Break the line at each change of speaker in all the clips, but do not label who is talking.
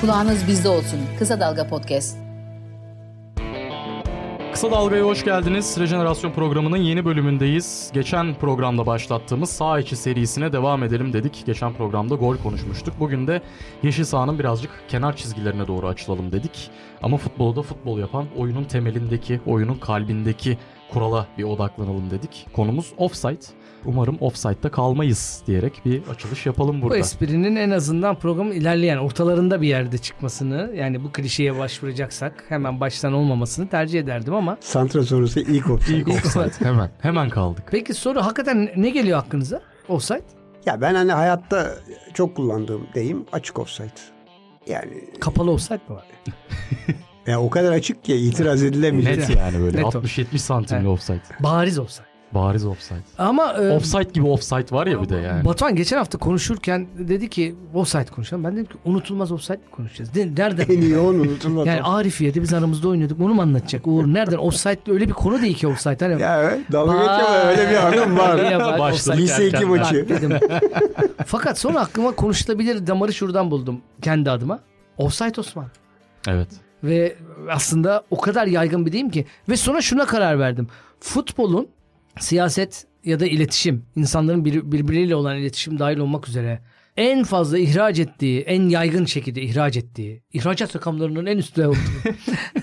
Kulağınız bizde olsun. Kısa Dalga Podcast.
Kısa Dalga'ya hoş geldiniz. Rejenerasyon programının yeni bölümündeyiz. Geçen programda başlattığımız sağ içi serisine devam edelim dedik. Geçen programda gol konuşmuştuk. Bugün de yeşil sahanın birazcık kenar çizgilerine doğru açılalım dedik. Ama futbolu da futbol yapan oyunun temelindeki, oyunun kalbindeki kurala bir odaklanalım dedik. Konumuz offside. Umarım offside'da kalmayız diyerek bir açılış yapalım
Bu
burada.
esprinin en azından programın ilerleyen ortalarında bir yerde çıkmasını yani bu klişeye başvuracaksak hemen baştan olmamasını tercih ederdim ama
Santrafor'uza ilk opsiyon.
İlk offside hemen. Hemen kaldık.
peki soru hakikaten ne geliyor aklınıza? Offside?
Ya ben hani hayatta çok kullandığım deyim açık offside. Yani
Kapalı offside mi var?
ya o kadar açık ki itiraz edilemeyecek.
Net yani böyle
Net o.
60-70 santimli
Evet.
offside.
Bariz offside.
Bariz offside.
Ama e,
Offside gibi offside var ya bir de yani.
Batuhan geçen hafta konuşurken dedi ki offside konuşalım. Ben dedim ki unutulmaz offside mi konuşacağız? De,
En
nereden?
iyi onu unutulmaz.
yani Arifiye'de biz aramızda oynuyorduk. Onu mu anlatacak? Uğur nereden? Offside de öyle bir konu değil ki offside. Hani
ya evet, dalga geçiyor
Vay.
öyle bir anım
Ya
var.
bak,
Başladı
offside
Lise iki
erken.
Bak
maçı.
dedim. Fakat sonra aklıma konuşulabilir damarı şuradan buldum kendi adıma. Offside Osman.
Evet.
Ve aslında o kadar yaygın bir deyim ki. Ve sonra şuna karar verdim. Futbolun siyaset ya da iletişim, insanların bir, birbiriyle olan iletişim dahil olmak üzere en fazla ihraç ettiği, en yaygın şekilde ihraç ettiği, ihracat rakamlarının en üstünde olduğu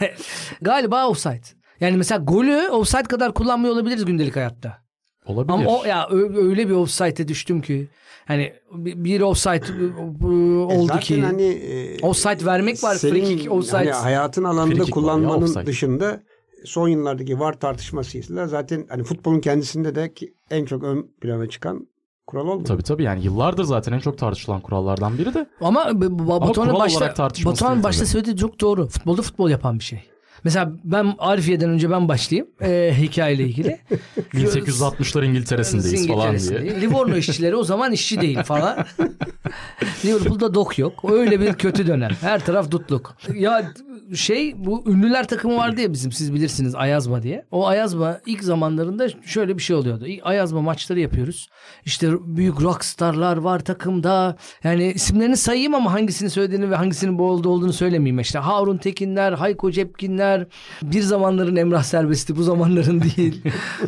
galiba offside. Yani mesela golü offside kadar kullanmıyor olabiliriz gündelik hayatta.
Olabilir.
Ama o ya ö- öyle bir offside'e düştüm ki hani bi- bir offside bu- bu oldu
Zaten
ki
hani, e,
offside vermek var,
senin
free kick, offside.
Hani hayatın alanında
Free kick var ya,
kullanmanın
offside.
dışında son yıllardaki var tartışmasıyla zaten hani futbolun kendisinde de ki en çok ön plana çıkan kural oldu.
Tabii tabii yani yıllardır zaten en çok tartışılan kurallardan biri de
ama b- b- Batuhan'ın
kural
başta
olarak tartışması
Batuhan
değil
başta
tabii.
söylediği çok doğru. Futbolda futbol yapan bir şey. Mesela ben Arifiye'den önce ben başlayayım e, hikayeyle ilgili.
1860'lar İngiltere'sindeyiz falan diye.
İngiltere'sinde. Livorno işçileri o zaman işçi değil falan. Liverpool'da dok yok. Öyle bir kötü dönem. Her taraf dutluk. Ya şey bu ünlüler takımı vardı ya bizim siz bilirsiniz Ayazma diye. O Ayazma ilk zamanlarında şöyle bir şey oluyordu. İlk Ayazma maçları yapıyoruz. İşte büyük rockstarlar var takımda. Yani isimlerini sayayım ama hangisini söylediğini ve hangisinin bu oldu olduğunu söylemeyeyim. İşte Harun Tekinler, Hayko Cepkinler, bir zamanların Emrah Serbest'i bu zamanların değil.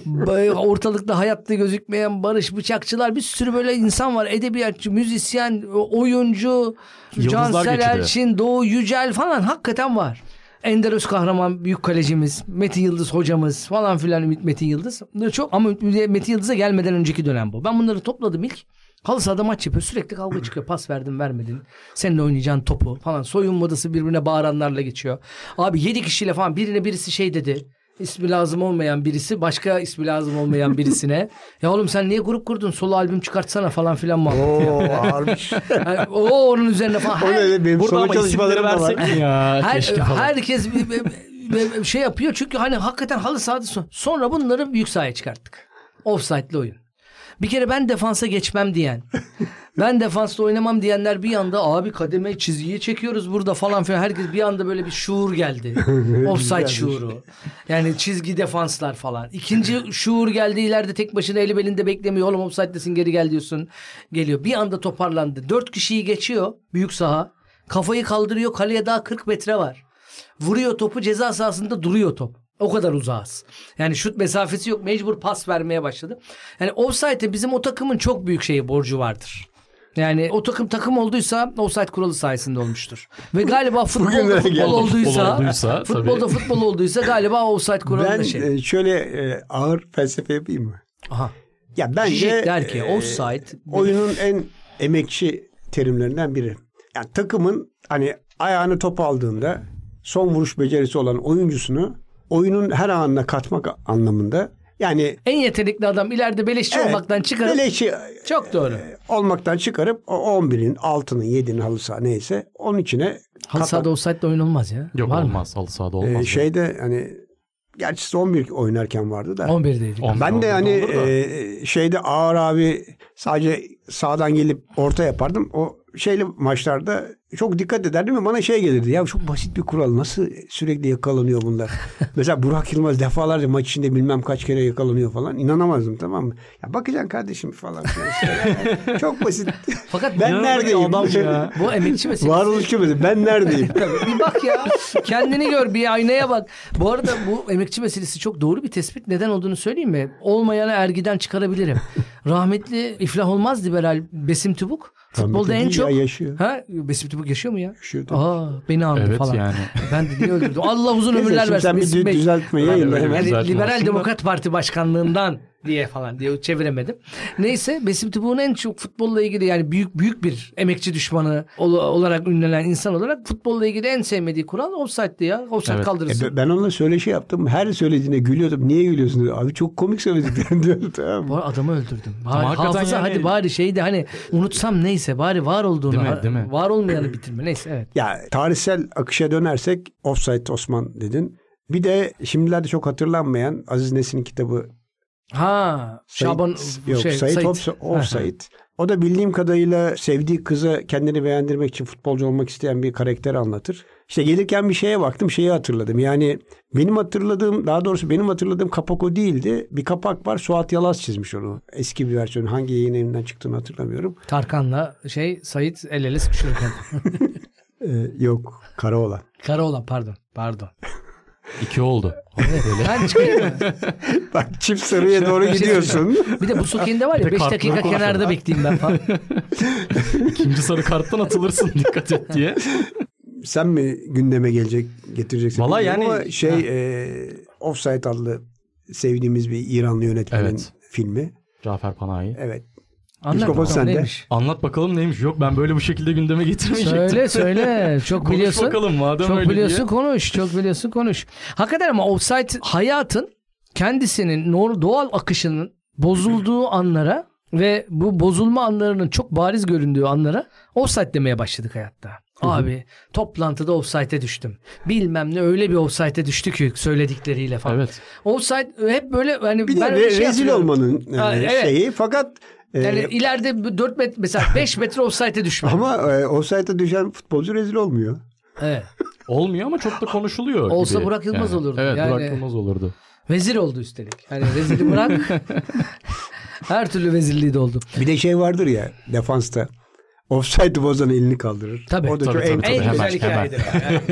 Ba- Ortalıkta hayatta gözükmeyen Barış Bıçakçılar bir sürü böyle insan var. Edebiyatçı, müzisyen, oyuncu,
Yıldızlar
Cansel
geçidi.
Elçin, Doğu Yücel falan hakikaten var. Ender Özkahraman büyük kalecimiz, Metin Yıldız hocamız falan filan Ümit Metin Yıldız. Çok ama Ümit- Metin Yıldız'a gelmeden önceki dönem bu. Ben bunları topladım ilk. Halı sahada maç yapıyor. Sürekli kavga çıkıyor. Pas verdin vermedin. Seninle oynayacağın topu falan. Soyunma odası birbirine bağıranlarla geçiyor. Abi yedi kişiyle falan birine birisi şey dedi. İsmi lazım olmayan birisi başka ismi lazım olmayan birisine. ya oğlum sen niye grup kurdun? Solo albüm çıkartsana falan filan muhabbet.
Oo ağırmış.
Yani, o onun üzerine falan.
o
Her-
ne benim
Burada
solo
ama isimleri
çalışmalarım da var.
versek mi ya?
her,
Keşke falan.
herkes bir- bir- bir- bir şey yapıyor çünkü hani hakikaten halı sahada son- sonra bunları büyük sahaya çıkarttık. Offside'li oyun. Bir kere ben defansa geçmem diyen, ben defansta oynamam diyenler bir anda abi kademe çizgiyi çekiyoruz burada falan filan. Herkes bir anda böyle bir şuur geldi. Offside şuuru. Yani çizgi defanslar falan. İkinci şuur geldi ileride tek başına eli belinde beklemiyor. Oğlum offside'desin geri gel diyorsun. Geliyor. Bir anda toparlandı. Dört kişiyi geçiyor büyük saha. Kafayı kaldırıyor kaleye daha 40 metre var. Vuruyor topu ceza sahasında duruyor top. O kadar uzağız. Yani şut mesafesi yok. Mecbur pas vermeye başladı. Yani offside'e bizim o takımın çok büyük şeyi borcu vardır. Yani o takım takım olduysa offside kuralı sayesinde olmuştur. Ve galiba futbolda
Bugünlere
futbol
geldik.
olduysa,
Futbol olduysa,
futbolda
tabii.
futbol olduysa galiba offside kuralı
Ben
da şey.
e, şöyle e, ağır felsefe yapayım mı?
Aha.
Ya bence
Ziyech der ki,
e,
offside-
oyunun en emekçi terimlerinden biri. Yani takımın hani ayağını top aldığında son vuruş becerisi olan oyuncusunu oyunun her anına katmak anlamında yani
En yetenekli adam ileride beleşçi
evet, e,
olmaktan çıkarıp
beleşi
çok doğru.
olmaktan çıkarıp o 11'in, 6'nın, 7'nin halı saha neyse onun içine
Halı
katan-
sahada offside de oyun olmaz ya.
Yok
Var
olmaz. Halı sahada
E,
olmaz.
şeyde hani gerçi siz 11 oynarken vardı da.
Mı? 11'deydik.
On-
Ben de
Olur
hani
da.
e, şeyde ağır abi sadece sağdan gelip orta yapardım. O şeyli maçlarda çok dikkat ederdim ve bana şey gelirdi. Ya çok basit bir kural nasıl sürekli yakalanıyor bunlar. Mesela Burak Yılmaz defalarca maç içinde bilmem kaç kere yakalanıyor falan. İnanamazdım tamam mı? Ya bakacaksın kardeşim falan. Yani çok basit.
Fakat
ben
İnanılmaz
neredeyim?
adam ya.
bu emekçi meselesi.
Varoluşçu muyum? Ben neredeyim?
bir bak ya. Kendini gör bir aynaya bak. Bu arada bu emekçi meselesi çok doğru bir tespit. Neden olduğunu söyleyeyim mi? Olmayanı ergiden çıkarabilirim. Rahmetli iflah olmaz liberal Besim Tübük. Futbolda en
değil
çok.
ya, yaşıyor.
Ha? Besim Tübük yaşıyor mu ya?
Yaşıyor tabii.
Aa, beni andı
Evet
falan.
yani.
Ben de niye öldürdüm? Allah uzun
Neyse,
ömürler
şimdi
versin.
sen bir
Besim
dü-
Bey.
düzeltme
Ben
yayınla
öyle
hemen.
bir-
Yani
Zaten
Liberal
aslında-
Demokrat Parti başkanlığından diye falan diye çeviremedim. Neyse Besim Tübük'ün en çok futbolla ilgili yani büyük büyük bir emekçi düşmanı ol- olarak ünlenen insan olarak futbolla ilgili en sevmediği kural offside'di ya. Offside
Evet.
kaldırırsın.
E, ben onunla söyleşi yaptım. Her söylediğine gülüyordum. Niye gülüyorsun? diyor. Abi çok komik söylediklerini diyordu. Tamam mı?
Bu arada adamı öldürdüm. Bari,
Tamam, hakikaten
hafıza
yani-
hadi bari şeydi hani unutsam neyse bari var olduğunu
Değil mi, değil mi?
var olmayanı bitirme neyse evet.
Ya tarihsel akışa dönersek Offside Osman dedin. Bir de şimdilerde çok hatırlanmayan Aziz Nesin'in kitabı
Ha
Said-
Şaban
yok,
şey,
Said,
Said.
Offs- Offside. O da bildiğim kadarıyla sevdiği kıza kendini beğendirmek için futbolcu olmak isteyen bir karakter anlatır. İşte gelirken bir şeye baktım şeyi hatırladım. Yani benim hatırladığım daha doğrusu benim hatırladığım kapak o değildi. Bir kapak var Suat Yalaz çizmiş onu. Eski bir versiyonu hangi yayın evinden çıktığını hatırlamıyorum.
Tarkan'la şey Sait el ele sıkışırken.
Ee, yok Karaoğlan.
Karaoğlan pardon pardon.
İki oldu.
Ben çıkayım mı?
Bak çift sarıya doğru
Bir şey
gidiyorsun.
söyleyeceğim. Bir de bu sokinde var ya
Bir de
5
kartlar
dakika
kullanıyor.
kenarda bekleyeyim ben falan.
İkinci sarı karttan atılırsın dikkat et diye.
Sen mi gündeme gelecek getireceksin?
Vallahi
bilmiyorum
yani-
ama şey e, Offside adlı sevdiğimiz bir İranlı yönetmenin
Evet.
filmi.
Cafer Panahi.
Evet.
Anlat
Mikrofon
bakalım
sende.
neymiş.
Anlat bakalım neymiş. Yok ben böyle bu şekilde gündeme
şey
getirmeyecektim.
Söyle söyle. Çok
Konuş
biliyorsun.
bakalım madem
çok
öyle
biliyorsun
diye.
konuş. Çok biliyorsun konuş. Hakikaten ama offside hayatın kendisinin nor- doğal akışının bozulduğu anlara ve bu bozulma anlarının çok bariz göründüğü anlara offside demeye başladık hayatta. Abi toplantıda offside'e düştüm. Bilmem ne öyle bir offside'e düştü ki söyledikleriyle falan.
Evet.
Offside hep böyle hani
Bir de
ben
re-
öyle şey
rezil
hatırlıyorum.
olmanın e,
Ha, evet.
şeyi fakat e,
Yani
Ee,
ileride 4 metre mesela 5 metre offside'e düşme.
ama e, offside'a düşen futbolcu rezil olmuyor.
Evet.
Olmuyor ama çok da konuşuluyor.
Olsa
gibi.
Burak Yılmaz
Yani.
olurdu.
Evet
Yani-
Burak Yılmaz olurdu.
Vezir oldu üstelik. Hani veziri bırak. Her türlü vezirliği de oldu.
Bir de şey vardır ya defansta. Offside'ı bozan elini kaldırır.
Tabii.
O da
Tabii,
çok en
tabii,
en
hemen,
güzel hikayedir.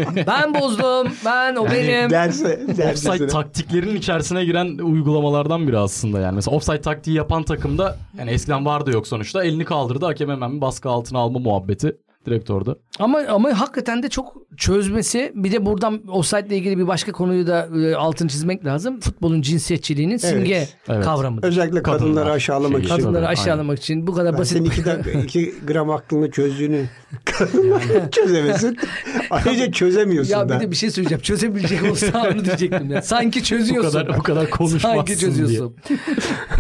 Yani ben bozdum. Ben o benim.
derse,
Offside taktiklerin içerisine giren uygulamalardan biri aslında yani. Mesela offside taktiği yapan takımda yani eskiden vardı yok sonuçta. Elini kaldırdı hakem hemen bir baskı altına alma muhabbeti direkt orada.
Ama ama hakikaten de çok çözmesi bir de buradan offside ile ilgili bir başka konuyu da e, altını çizmek lazım. Futbolun cinsiyetçiliğinin simge
Evet.
kavramıdır.
Özellikle kadınları
Kadınlar
aşağılamak
şeyi.
için.
Kadın-
Kadınları
Tabii,
aşağılamak için bu kadar
Ben
basit.
senin iki, dakika, iki gram aklını çözdüğünü çözemesin. Ayrıca çözemiyorsun
ya
da.
bir de bir şey söyleyeceğim. Çözebilecek olsa onu diyecektim. ya. Sanki
Bu
çözüyorsun.
kadar bu kadar
Sanki
konuşmazsın diye.
çözüyorsun.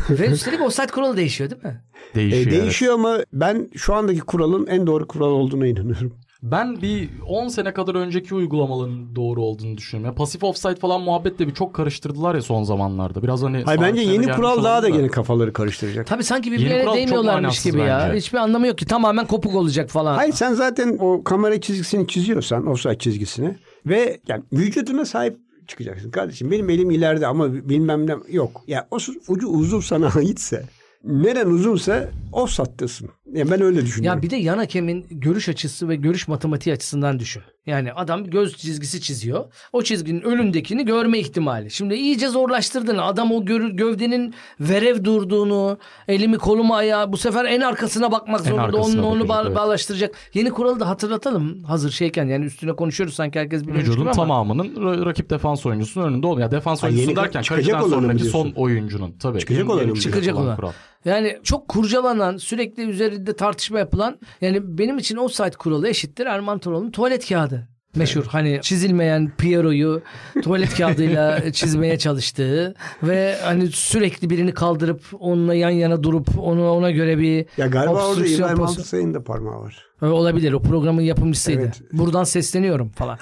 Ve üstelik offside kuralı değişiyor değil mi?
E,
Değişiyor. evet.
değişiyor ama ben şu andaki kuralın en doğru kural olduğuna inanıyorum.
E, Ben bir 10 sene kadar önceki uygulamaların doğru olduğunu düşünüyorum. Ya pasif offside falan muhabbetle bir çok karıştırdılar ya son zamanlarda. Biraz hani
Hayır bence
sahiplerine
yeni
gelmiş
kural daha da
olabilir.
gene kafaları karıştıracak.
Tabii sanki
Yeni
birbirine
kural çok
değmiyorlarmış
manasız
gibi ya.
bence.
Hiçbir anlamı yok ki. Tamamen kopuk olacak falan.
Hayır sen zaten o kamera çizgisini çiziyorsan, offside çizgisini ve yani vücuduna sahip çıkacaksın kardeşim. Benim elim ileride ama bilmem ne yok. Ya o su- ucu uzun sana aitse, neren uzunsa offside'dasın. Ya ben öyle düşünüyorum.
Ya bir de yan hakemin görüş açısı ve görüş matematiği açısından düşün. Yani adam göz çizgisi çiziyor. O çizginin önündekini görme ihtimali. Şimdi iyice zorlaştırdın. Adam o görü- gövdenin verev durduğunu, elimi kolumu ayağı bu sefer en arkasına bakmak zorunda.
arkasına
Onunla onu
bakacak,
bağ-
evet.
bağlaştıracak. Yeni kuralı da hatırlatalım hazır şeyken. Yani üstüne konuşuyoruz sanki herkes biliyormuş gibi
Vücudun
ama.
tamamının ra- rakip defans oyuncusunun önünde olmuyor. Ya defans
Ha, yeni
oyuncusu
ka-
derken
çıkacak
kaleciden
olanı mı
sonraki son
diyorsun?
oyuncunun tabii.
Çıkacak
Yeni-
olanı mı
yeni
Çıkacak olan.
kural.
Yani çok kurcalanan, sürekli üzerinde tartışma yapılan yani benim için offside kuralı eşittir Erman Toroğlu'nun tuvalet kağıdı. Meşhur hani çizilmeyen Piero'yu tuvalet kağıdıyla çizmeye çalıştığı ve hani sürekli birini kaldırıp onunla yan yana durup onu ona göre bir
Ya galiba orada
obstrüksiyon
İbrahim
pozisyon-
Altınsay'ın da parmağı var.
Ee, olabilir. O programın yapımcısıydı.
Evet.
Buradan sesleniyorum falan.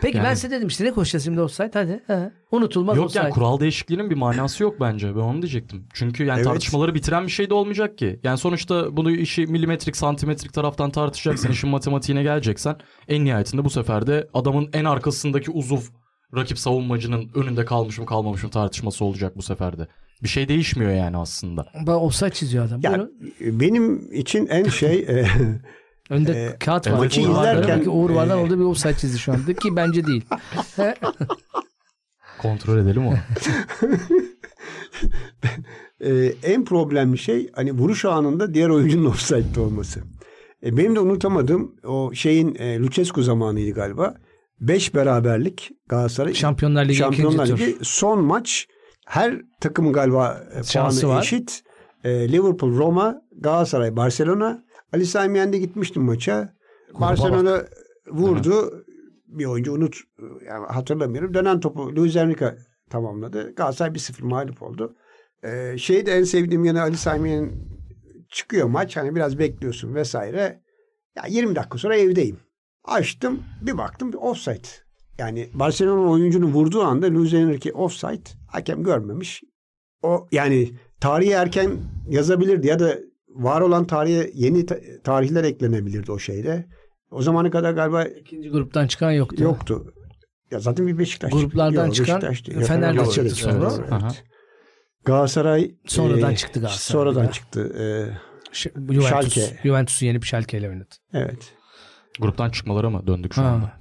Peki ben
Yani-
size dedim işte ne koşacağız şimdi offside hadi. He. Unutulmaz
Yok
offside.
yani kural değişikliğinin bir manası yok bence. Ben onu diyecektim. Çünkü yani
Evet.
tartışmaları bitiren bir şey de olmayacak ki. Yani sonuçta bunu işi milimetrik, santimetrik taraftan tartışacaksan, işin matematiğine geleceksen en nihayetinde bu sefer de adamın en arkasındaki uzuv rakip savunmacının önünde kalmış mı kalmamış mı tartışması olacak bu sefer de. Bir şey değişmiyor yani aslında.
Bak offside çiziyor adam.
Ya,
Buyurun.
benim için en şey e,
Önde kağıt var.
maçı
Uğur Vardan.
Ee, izlerken-
Belki Uğur Vardan
e,
orada bir offside çizdi şu anda ki bence değil.
Kontrol edelim o.
e, en problemli şey hani vuruş anında diğer oyuncunun offside'de olması. E, benim de unutamadığım o şeyin e, Lucescu zamanıydı galiba. 5 beraberlik Galatasaray
Şampiyonlar Ligi
Şampiyonlar
ikinci
Ligi son maç her takımın galiba e,
Şansı
puanı
var.
eşit. E, Liverpool, Roma, Galatasaray, Barcelona. Ali Sami Yen'de gitmiştim maça. Barcelona vurdu. Bir oyuncu unut yani hatırlamıyorum. Dönen topu Luis Enrique tamamladı. Galatasaray 1-0 mağlup oldu. E, şey de en sevdiğim yanı Ali Sami Yen'in çıkıyor maç. Hani biraz bekliyorsun vesaire. Ya 20 dakika sonra evdeyim. Açtım bir baktım bir offside. Yani Barcelona oyuncunun vurduğu anda Luis Enrique offside. Hakem görmemiş. O yani tarihi erken yazabilirdi ya da var olan tarihe yeni ta- tarihler eklenebilirdi o şeyde. O zamana kadar galiba
İkinci gruptan çıkan yoktu.
yoktu. Ya zaten bir Beşiktaş.
Gruplardan
Yok,
çıkan
Beşiktaş değil.
Fenerbahçe
Fenerbahçe'de
çıktı
çıktı.
sonra.
Evet.
Aha.
Galatasaray
Sonradan
e,
çıktı Galatasaray.
Sonradan
Ya.
çıktı. E,
Ş- Juventus,
Schalke.
Juventus'u yenip Schalke ile oynadı.
evet.
Gruptan çıkmalara mı döndük şu anda?
Ha.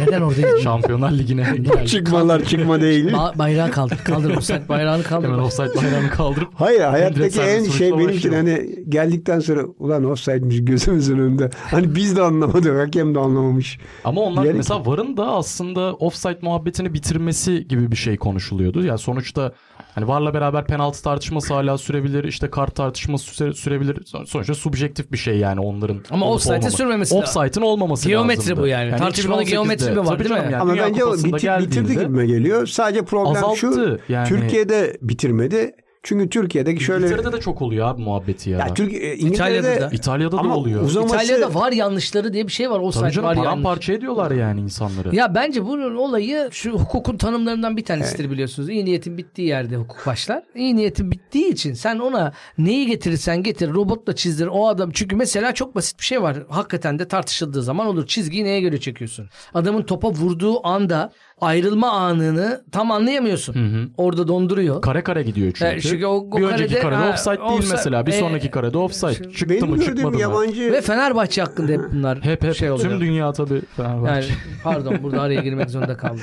Neden orada gittin?
Şampiyonlar Ligi'ne geldik.
Çıkmalar çıkma değil.
Ba- bayrağı kaldır. Kaldır offside bayrağını kaldır.
Hemen offside bayrağını kaldırıp
Hayır
Direkt
hayattaki en
serbest
şey
vuruşla
benim için hani geldikten sonra ulan offside'miş gözümüzün önünde. Hani biz de anlamadık hakem de anlamamış.
Ama onlar
Yani-
mesela VAR'ın da aslında offside muhabbetini bitirmesi gibi bir şey konuşuluyordu. Yani sonuçta hani VAR'la beraber penaltı tartışması hala sürebilir, işte kart tartışması süre- sürebilir. Son- Sonuçta subjektif bir şey yani onların.
Ama
olup
offside'in
olmaması.
sürmemesi lazım.
Offside'in olmaması
Geometri
lazımdı.
bu yani. Tartışmanın
2018'de
geometri mi var,
tabii
değil mi?
canım Yani
Ama
Dünya
bence o
Kupası'nda
bitir- bitirdi
geldiğinde-
gibime geliyor. Sadece problem şu
Azalttı yani.
Türkiye'de bitirmedi. Çünkü Türkiye'deki şöyle
İngiltere'de de çok oluyor abi muhabbeti ya.
ya Türkiye e, İngiltere'de
İtalya'da da.
İtalya'da
ama
da oluyor.
uzaması
İtalya'da var yanlışları diye bir şey var.
Tabii
Offside
canım
var yanlış.
paramparça ediyorlar yani insanları.
Ya bence bunun olayı şu hukukun tanımlarından bir tanesidir biliyorsunuz. İyi niyetin bittiği yerde hukuk başlar. İyi niyetin bittiği için sen ona neyi getirirsen getir robotla çizdir o adam. Çünkü mesela çok basit bir şey var. Hakikaten de tartışıldığı zaman olur. Çizgiyi neye göre çekiyorsun? Adamın topa vurduğu anda ayrılma anını tam anlayamıyorsun. Orada donduruyor.
Kare kare gidiyor çünkü.
E, çünkü o- o
bir önceki
karede-
karede
ha,
offside değil
offside-
mesela. Bir
e,
sonraki karede offside. Çıktı
benim
mı çıkmadı
gördüğüm
mı?
yabancı
Ve Fenerbahçe hakkında hep bunlar
Hep hep
şey oluyor.
tüm dünya tabii
yani
Fenerbahçe.
pardon burada araya girmek zorunda kaldım.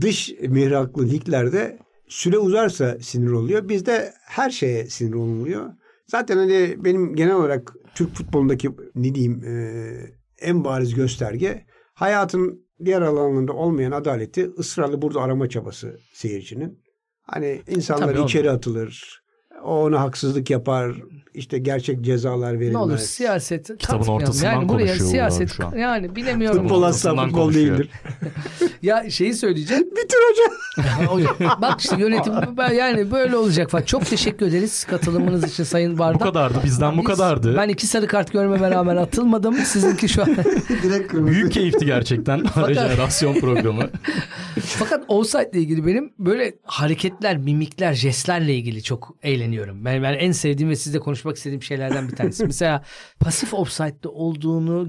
dış mihraklı liglerde süre uzarsa sinir oluyor. Bizde her şeye sinir oluyor. Zaten hani benim genel olarak Türk futbolundaki ne diyeyim e, en bariz gösterge hayatın diğer alanlarında olmayan adaleti ısrarlı burada arama çabası seyircinin. Hani insanlar
Tabii oğlum.
içeri atılır. O ona haksızlık yapar. işte gerçek cezalar verilmez.
Ne olur siyaset tartmayalım.
ortasından
yani buraya
konuşuyor Uğur abi
siyaset
şu an.
yani bilemiyorum.
Futbol asla
ortasından
futbol
konuşuyor.
değildir.
Ya şeyi söyleyeceğim.
Bitir hocam.
Bak işte yönetim ben- yani böyle olacak falan. Çok teşekkür ederiz katılımınız için Sayın
bu
Bardak.
kadardı bizden bu
Biz-
kadardı.
Ben iki sarı kart görmeme rağmen atılmadım. Sizinki şu an.
Direkt kırmızı.
Büyük keyifti gerçekten rejenerasyon programı.
Fakat offside ile ilgili benim böyle hareketler, mimikler, jestlerle ilgili çok eğleniyorum. Ben, ben en sevdiğim ve sizle konuşmak istediğim şeylerden bir tanesi. Mesela pasif offside'de olduğunu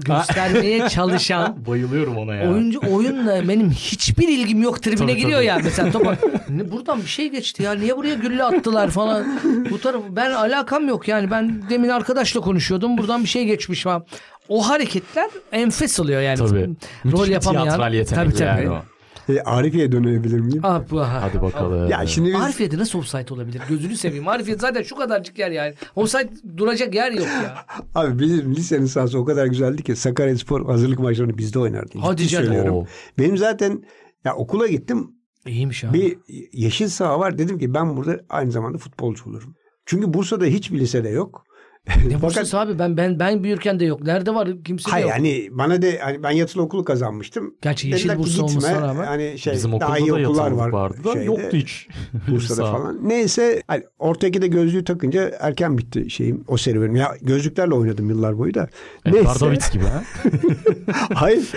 göstermeye çalışan
Bayılıyorum ona ya.
Oyuncu oyunla benim hiçbir ilgim yok tribüne
Tabii,
giriyor
tabii.
ya mesela topa. Ne, buradan bir şey geçti ya niye buraya gülle attılar falan. Bu tarafı ben alakam yok yani ben demin arkadaşla konuşuyordum buradan bir şey geçmiş falan. O hareketler enfes oluyor yani.
Tabii. Müthiş
Rol
bir
yapamayan.
Tiyatral yetenek
tabii, tabii.
yani o.
E, Arifiye dönebilir miyim?
Ah, bu- ah.
Hadi bakalım.
Ya şimdi biz
Arifiye'de nasıl offside olabilir? Gözünü seveyim. Arifiye zaten şu kadarcık yer yani. Offside duracak yer yok ya.
Abi bizim lisenin sahası o kadar güzeldi ki Sakaryaspor hazırlık maçlarını bizde oynardı.
Hadi
Ciddi
canım.
söylüyorum.
Oo.
Benim zaten ya okula gittim
İyiymiş ha.
bir yeşil saha var. Dedim ki ben burada aynı zamanda futbolcu olurum. Çünkü Bursa'da hiçbir lisede yok.
ne
Fakat-
Fakat... abi ben ben ben büyürken de yok. Nerede var? Kimse de
Hayır
yok.
yani bana de hani ben yatılı okulu kazanmıştım.
Gerçi yeşil
Dediler ki
Bursa olmasına
gitme,
rağmen
Hani şey,
Bizim
daha
okulda
iyi
da
okullar var.
yatırımlık vardı da
şeyde,
yoktu hiç.
Bursa'da
Sağ ol.
falan. Neyse hani ortadaki de gözlüğü takınca erken bitti şeyim o serüvenim. Ya gözlüklerle oynadım yıllar boyu da.
E, Kardavic gibi ha.
Hayır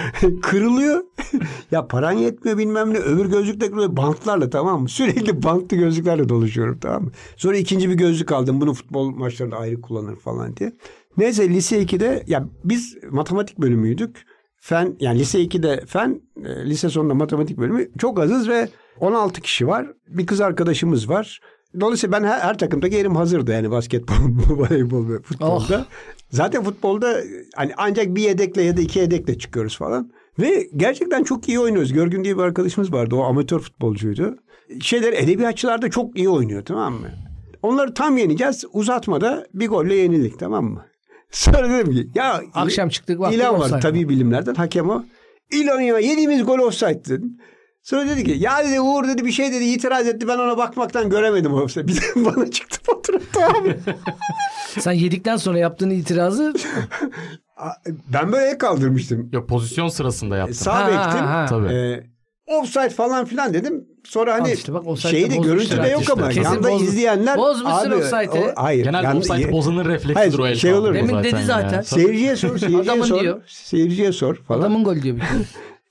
kırılıyor. ya paran yetmiyor bilmem ne. Öbür gözlük takıyorum bantlarla tamam mı? Sürekli bantlı gözlüklerle dolaşıyorum tamam mı? Sonra ikinci bir gözlük aldım. Bunu futbol maçlarında ayrı kullanır falan diye. Neyse lise 2'de ya biz matematik bölümüydük. Fen yani lise 2'de fen, e, lise sonunda matematik bölümü çok azız ve 16 kişi var. Bir kız arkadaşımız var. Dolayısıyla ben her, her takımdaki yerim hazırdı yani basketbol, voleybol ve futbolda. Zaten futbolda hani ancak bir yedekle ya da iki yedekle çıkıyoruz falan. Ve gerçekten çok iyi oynuyoruz. Görgün diye bir arkadaşımız vardı. O amatör futbolcuydu. Şeyler edebiyatçılar da çok iyi oynuyor tamam mı? Onları tam yeneceğiz. Uzatmada bir golle yenildik tamam mı? Sonra dedim ki ya
Akşam çıktık, baktık
ilan var
offside.
tabi bilimlerden hakem o. İlan ya yediğimiz gol offside dedim. Sonra dedi ki ya dedi Uğur dedi bir şey dedi itiraz etti ben ona bakmaktan göremedim offside. Bir de bana çıktı fotoğrafta abi.
Sen yedikten sonra yaptığın itirazı
ben böyle el kaldırmıştım. E,
Ya pozisyon sırasında yaptım.
Sağ
Ha, ha,
bektim.
ha.
Tabii.
Ee, offside falan filan dedim. Sonra hani
Al işte bak offside'de
şeyi de
bozmuşlar
görüntü de
artık
yok
işte.
ama
Kesin
yanda
bozmuş.
izleyenler
Bozmuşsun offside'i.
hayır.
Genelde
yanda-
offside bozanın refleksidir
Hayır,
o el
şey
kaldırma
olur mu?
Demin dedi
yani.
zaten.
Seyirciye sor, seyirciye
Adamın
sor.
diyor.
Seyirciye sor falan.
adamın gol diyor bir kere.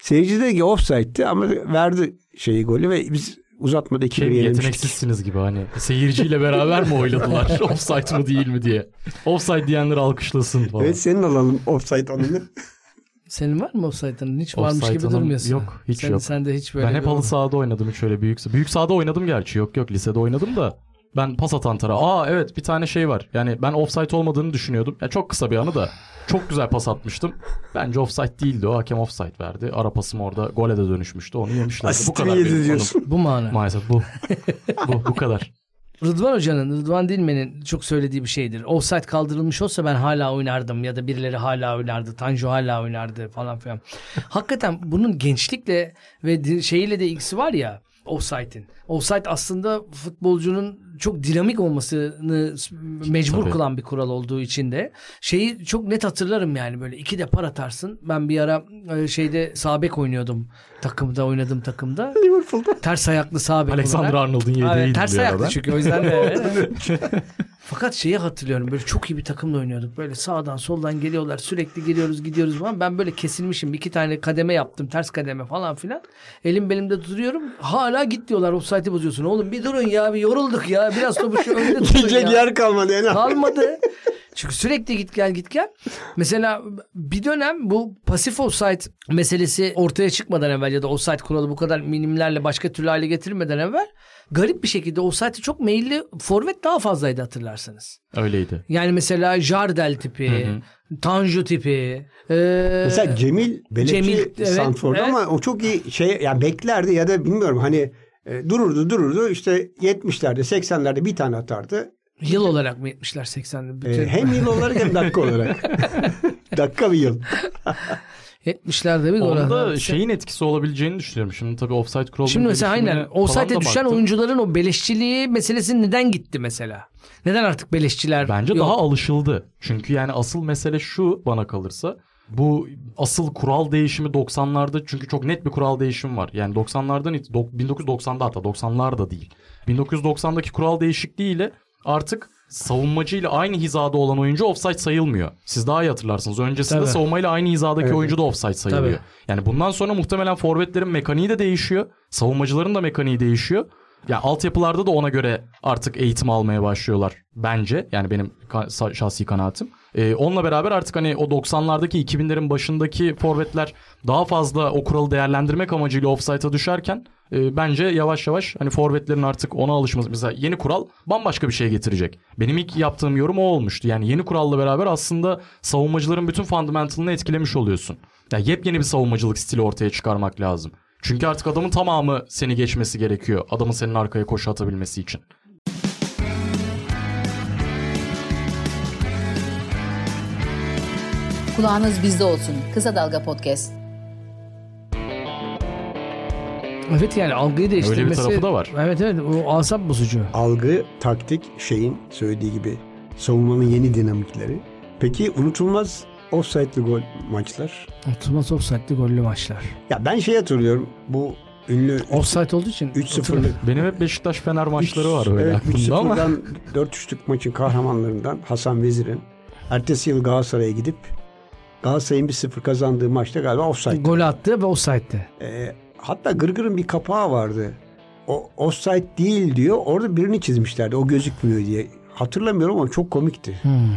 Seyirci dedi ki offside'ti ama verdi şeyi golü ve biz uzatmada
Şey,
2-1 yenilmiştik.
yeteneksizsiniz gibi hani. Seyirciyle beraber mi oyladılar? Offside mı değil mi diye. Offside diyenler alkışlasın falan.
Evet senin alalım offside anını.
Senin var mı offside'ın? Hiç varmış
Offside
gibi
hanım-
durmuyorsun.
yok, hiç
sen,
yok.
Sen de hiç böyle.
Ben
bir
hep halı
olmaz.
sahada oynadım hiç öyle büyük. Büyük sahada oynadım gerçi. Yok yok lisede oynadım da. Ben pas atan tarafa. Aa evet bir tane şey var. Yani ben offside olmadığını düşünüyordum. Ya çok kısa bir anı da. Çok güzel pas atmıştım. Bence offside değildi o. Hakem offside verdi. Ara pasım orada gole de dönüşmüştü. Onu yemişlerdi. Bu
Asistini
kadar benim
yedi
konum.
diyorsun.
Bu mana.
Maalesef bu. bu, bu kadar.
Rıdvan Hoca'nın, Rıdvan Dilmen'in çok söylediği bir şeydir. Offside kaldırılmış olsa ben hala oynardım ya da birileri hala oynardı, Tanju hala oynardı falan filan. Hakikaten bunun gençlikle ve di- şeyiyle de ilgisi var ya offside'in. Offside aslında futbolcunun çok dinamik olmasını s- mecbur
Tabii.
kılan bir kural olduğu için de şeyi çok net hatırlarım yani böyle iki de par atarsın. Ben bir ara e, şeyde sabek oynuyordum takımda oynadım takımda.
Liverpool'da.
Ters ayaklı sabek
Alexander
olarak.
Arnold'un yedeği
Evet,
evet,
ters ayaklı çünkü o yüzden de. Fakat şeyi hatırlıyorum böyle çok iyi bir takımla oynuyorduk. Böyle sağdan soldan geliyorlar sürekli geliyoruz gidiyoruz falan. Ben böyle kesilmişim iki tane kademe yaptım ters kademe falan filan. Elim belimde duruyorum hala git diyorlar offside'i bozuyorsun. Oğlum bir durun ya bir yorulduk ya biraz topu şu önde tutun
Gidecek
ya.
yer kalmadı yani.
Kalmadı. Çünkü sürekli git gel git gel. Mesela bir dönem bu pasif offside meselesi ortaya çıkmadan evvel ya da offside kuralı bu kadar minimlerle başka türlü hale getirilmeden evvel garip bir şekilde offside'e çok meyilli forvet daha fazlaydı hatırlarsanız.
Öyleydi.
Yani mesela Jardel tipi, Tanju tipi. e,
Mesela Cemil Belekçi
Cemil, evet,
Sanford'da
evet.
ama o çok iyi şey ya beklerdi ya da bilmiyorum hani e, dururdu dururdu işte 70'lerde 80'lerde bir tane atardı.
yıl olarak mı 70'ler 80'ler?
E,
Bütün
hem yıl olarak hem dakika olarak. dakika bir yıl.
70'lerde bir gol
Onda şey
atan.
şeyin etkisi olabileceğini düşünüyorum. Şimdi tabii offside kuralı.
Şimdi mesela aynen offside'e düşen oyuncuların o beleşçiliği meselesi neden gitti mesela? Neden artık beleşçiler
Bence
yok?
daha alışıldı. Çünkü yani asıl mesele şu bana kalırsa. Bu asıl kural değişimi 90'larda çünkü çok net bir kural değişimi var. Yani 90'lardan it- dok- 1990'da hatta 90'lar da değil. 1990'daki kural değişikliğiyle artık savunmacıyla aynı hizada olan oyuncu offside sayılmıyor. Siz daha iyi hatırlarsınız. Öncesinde
Tabii.
savunmayla aynı hizadaki
Evet.
oyuncu da offside sayılıyor.
Tabii.
Yani bundan sonra muhtemelen forvetlerin mekaniği de değişiyor. Savunmacıların da mekaniği değişiyor. Ya altyapılarda da ona göre artık eğitim almaya başlıyorlar bence. Yani benim ka- sa- şahsi kanaatim. Ee, onunla beraber artık hani o 90'lardaki 2000'lerin başındaki forvetler daha fazla o kuralı değerlendirmek amacıyla offside'a düşerken e, bence yavaş yavaş hani forvetlerin artık ona alışması mesela yeni kural bambaşka bir şey getirecek. Benim ilk yaptığım yorum o olmuştu. Yani yeni kuralla beraber aslında savunmacıların bütün fundamentalını etkilemiş oluyorsun. Ya yepyeni bir savunmacılık stili ortaya çıkarmak lazım. Çünkü artık adamın tamamı seni geçmesi gerekiyor. Adamın senin arkaya koşu atabilmesi için.
Kulağınız bizde olsun. Kısa Dalga Podcast.
Evet yani algıyı değiştirmesi.
tarafı da var.
Evet evet o asap bozucu.
Algı, taktik, şeyin söylediği gibi savunmanın yeni dinamikleri. Peki unutulmaz offside'lı gol maçlar.
Unutulmaz offside'li gollü maçlar.
Ya ben şey hatırlıyorum bu ünlü
Offside olduğu için.
3-0'lık
Benim hep Beşiktaş Fener maçları var böyle
Evet,
aklımda ama
3-0'dan 4-3'lük maçın kahramanlarından Hasan Vezir'in ertesi yıl Galatasaray'a gidip Galatasaray'ın 1-0 kazandığı maçta galiba offside.
Gol attı ve offside'di.
Ee, hatta Gırgır'ın bir kapağı vardı. O offside değil diyor. Orada birini çizmişlerdi. O gözükmüyor diye. Hatırlamıyorum ama çok komikti
Hmm.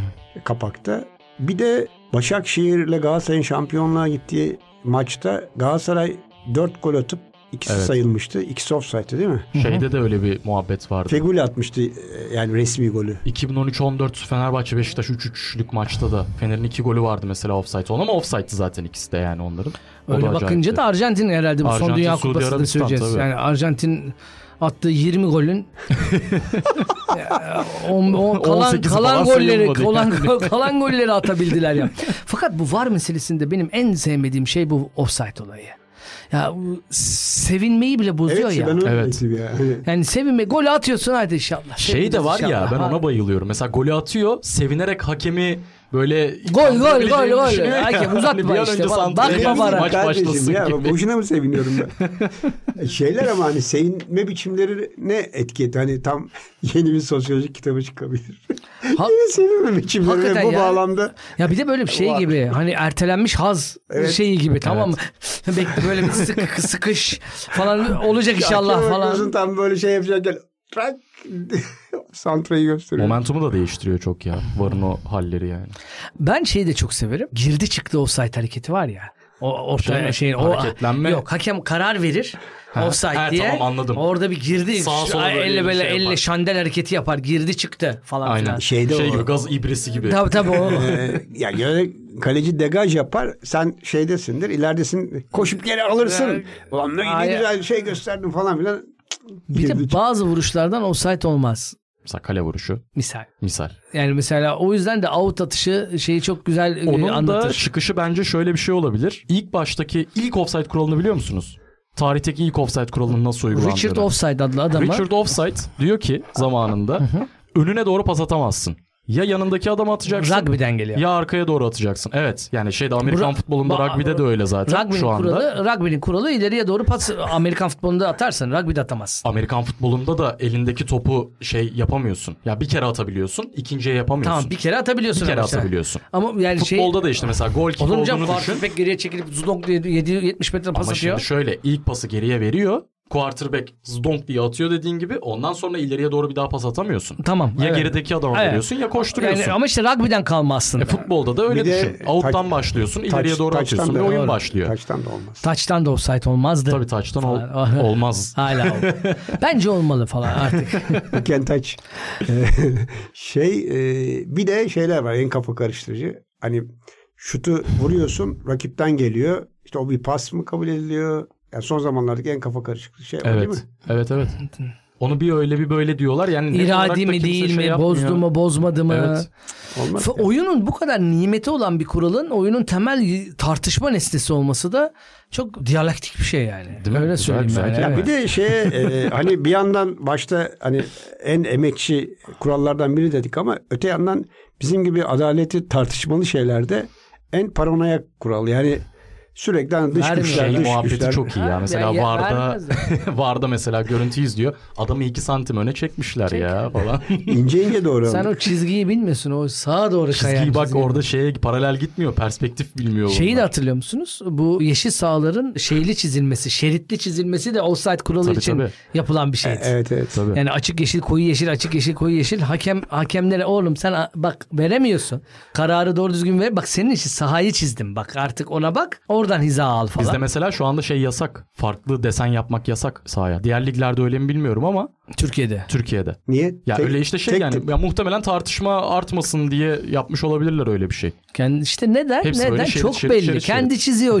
kapakta. Bir de Başakşehir'le Galatasaray'ın şampiyonluğa gittiği maçta Galatasaray 4 gol atıp ikisi
Evet.
sayılmıştı. İkisi offside'dı değil mi?
Şeyde de öyle bir muhabbet vardı.
Fegül atmıştı e, yani resmi golü.
2013-14 Fenerbahçe Beşiktaş 3-3'lük maçta da Fener'in 2 golü vardı mesela offside olan ama offside'ti zaten ikisi de yani onların. O
Öyle
da acayipti.
bakınca da Arjantin herhalde bu
Arjantin,
son Dünya
Suudi
Kupası'nda
Arabistan
söyleyeceğiz.
tabii.
Yani Arjantin attığı 20 golün Ya, on- on- kalan
18'i
kalan
falan
golleri
sayılmadı
kalan,
yani.
kalan golleri atabildiler ya. Fakat bu var meselesinde benim en sevmediğim şey bu offside olayı. Ya bu sevinmeyi bile bozuyor
Evet
ya.
ben öyle
Evet.
evet. ya. Hani
Yani sevinme gol atıyorsun hadi inşallah.
Şey de var ya
Seviniriz
ben
inşallah.
ona bayılıyorum. Mesela golü atıyor sevinerek hakemi böyle
Gol, gol, gol,
Bileceğini
gol.
düşünüyor ya.
Hakem
Hani
uzatma
bir an
işte
önce
falan.
santraya
Bakma
gelsin,
bana.
Maç
Kardeşim
başlasın
ya,
gibi.
Boşuna mı seviniyorum ben? Şeyler ama hani sevinme biçimleri ne etki etti? Hani tam yeni bir sosyolojik kitabı çıkabilir.
Ha-
Yeni sevinme biçimleri
Hakikaten
bu
ya.
bağlamda
Ya bir de böyle bir şey
Var.
gibi hani ertelenmiş haz
Evet.
şeyi gibi tamam mı? Bekle böyle bir sık, sıkış falan olacak inşallah
Hakem
falan.
oynuyorsun, tam böyle şey yapacakken trak santrayı gösteriyor.
Momentumu da değiştiriyor çok ya. Varın o halleri yani.
Ben şeyi de çok severim. Girdi çıktı offside hareketi var ya. O ortaya
Şey mi?
şeyin o
Hareketlenme.
Yok hakem karar verir offside
he,
diye.
tamam, anladım.
Orada bir girdi
Sağa sola
ay,
böyle
elle
bir
böyle
şey
elle
yapar.
şandel hareketi yapar. Girdi çıktı falan
Aynen.
filan.
Şeyde
şey
o-
gibi gaz ibrisi gibi.
Tabii tabii o.
Ee, ya yani kaleci degaj yapar. Sen şeydesindir, ileridesin. Koşup geri alırsın. Ulan ne, ne
Ay-
güzel şey gösterdin falan filan. Cık,
bir
girdi
de bazı vuruşlardan offside olmaz
Mesela kale vuruşu
misal.
misal.
Yani mesela o yüzden de out atışı şeyi çok güzel e,
Onun da
anlatır.
çıkışı bence şöyle bir şey olabilir. İlk baştaki ilk offside kuralını biliyor musunuz? Tarihteki ilk offside kuralının nasıl uygulandığını.
Richard Offside adlı adama
Richard Offside diyor ki zamanında önüne doğru pas atamazsın. Ya yanındaki adama atacaksın.
rugby'den geliyor.
Ya arkaya doğru atacaksın. Evet. Yani şeyde Amerikan
Bra-
futbolunda
ba-
rugby'de de öyle zaten
Rugby'nin
şu anda.
kuralı, rugby'nin kuralı ileriye doğru pas Amerikan futbolunda atarsın, rugby'de atamazsın.
Amerikan futbolunda da elindeki topu şey yapamıyorsun. Ya bir kere atabiliyorsun, ikinciye yapamıyorsun.
Tamam bir kere atabiliyorsun.
Bir kere
ama sen.
atabiliyorsun.
Ama yani şey
Futbolda da işte mesela gol kick
olur mu
olduğunu
canım?
düşün.
Quarterback geriye çekilip zudong diye 7 70 metre pas
Ama
atıyor.
şimdi şöyle ilk pası geriye veriyor. Quarterback zdonk diye atıyor dediğin gibi ondan sonra ileriye doğru bir daha pas atamıyorsun.
Tamam,
Ya
evet.
gerideki adama
Evet.
veriyorsun ya koşturuyorsun.
Yani ama işte rugby'den kalma aslında.
E, futbolda da öyle
Bir de
düşün. Out'tan
taç-
başlıyorsun,
Taç-
ileriye doğru
taçtan
atıyorsun
da-
ve oyun
Doğru.
başlıyor.
Taçtan da olmaz.
Taçtan da offside olmazdı.
Tabii taçtan ol-
Falan.
olmaz.
Hala ol. Bence olmalı falan artık.
Kentaç. Ee, şey e, bir de şeyler var en kafa karıştırıcı. Hani şutu vuruyorsun rakipten geliyor. İşte o bir pas mı kabul ediliyor? Yani son zamanlardaki en kafa karışıklığı şey o değil
Evet.
mi?
Evet evet. Onu bir öyle bir böyle diyorlar. Yani net olarak da
İradi mi
kimse
değil
şey
mi?
yapmıyor.
Bozdu mu, bozmadı mı?
Evet.
Olmaz.
Fa- Oyunun bu kadar nimeti olan bir kuralın oyunun temel y- tartışma nesnesi olması da çok diyalektik bir şey yani.
Değil mi?
Öyle
Güzel,
söyleyeyim
güzel.
yani.
Ya
evet.
bir de şeye e, hani bir yandan başta hani en emekçi kurallardan biri dedik ama öte yandan bizim gibi adaleti tartışmalı şeylerde en paranoyak kural. Yani sürekli hani dış
Vermiyor.
güçler,
Şey
dış
muhabbeti
güçler.
çok iyi ya.
Ha,
Mesela
ya- ya
Varda
vermezler.
Varda mesela görüntü izliyor. Adamı 2 santim öne çekmişler ya falan.
ince ince doğru.
Sen o çizgiyi bilmiyorsun. O sağa doğru kayan
Çizgiyi bak
çizgiyi.
orada şeye paralel gitmiyor. Perspektif bilmiyor.
Şeyi de
bunlar.
hatırlıyor musunuz? Bu yeşil sahaların şeyli çizilmesi, şeritli çizilmesi de offside kuralı
Tabii,
için
tabii. E,
yapılan bir şeydi.
Evet evet.
Tabii.
Yani açık yeşil, koyu yeşil, açık yeşil, koyu yeşil. Hakem hakemlere oğlum sen a- bak veremiyorsun. Kararı doğru düzgün ver. Bak senin için sahayı çizdim. Bak artık ona bak. Oradan hiza al falan.
Bizde mesela şu anda şey yasak. Farklı desen yapmak yasak sahaya. Diğer liglerde öyle mi bilmiyorum ama
Türkiye'de.
Türkiye'de.
Niye?
Ya
Tek-
öyle işte şey
tek
yani
tip.
ya muhtemelen tartışma artmasın diye yapmış olabilirler öyle bir şey.
Kendi işte neden?
Hepsi
neden?
böyle şey şerit,
Çok
şerit,
belli.
şerit,
Kendi çiziyor o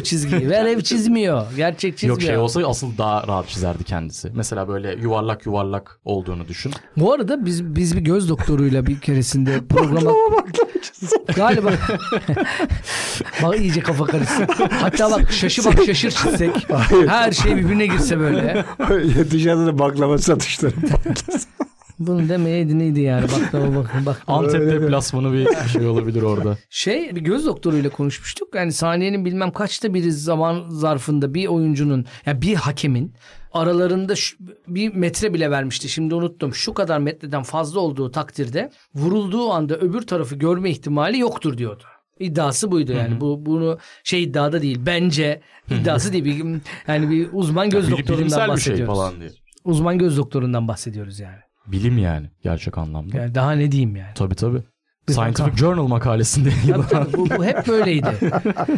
çizgiyi. Verev çizmiyor. Gerçek çizmiyor.
Yok şey olsa asıl daha rahat çizerdi kendisi. Mesela böyle yuvarlak yuvarlak olduğunu düşün.
Bu arada biz biz bir göz doktoruyla bir keresinde programa galiba bak iyice kafa karışsın. Hatta bak şaşı bak şaşır çizsek. Her şey birbirine girse böyle.
Dışarıda da baklava satışları.
Bunu demeyeydi neydi yani baklava bakın bak.
Antep deplasmanı bir şey olabilir orada.
Şey bir göz doktoruyla konuşmuştuk. Yani saniyenin bilmem kaçta biri zaman zarfında bir oyuncunun ya bir hakemin aralarında şu- bir metre bile vermişti. Şimdi unuttum. Şu kadar metreden fazla olduğu takdirde vurulduğu anda öbür tarafı görme ihtimali yoktur diyordu. İddiası buydu yani. Bu bunu şey iddiada değil. Bence iddiası değil. Bir, yani bir uzman göz
Bil-
doktorundan
bilimsel bir
bahsediyoruz.
şey falan diye.
Uzman göz doktorundan bahsediyoruz yani.
Bilim yani gerçek anlamda.
Yani daha ne diyeyim yani.
Tabii tabii. Scientific Journal makalesinde
Tabii tabii, bu, bu hep böyleydi.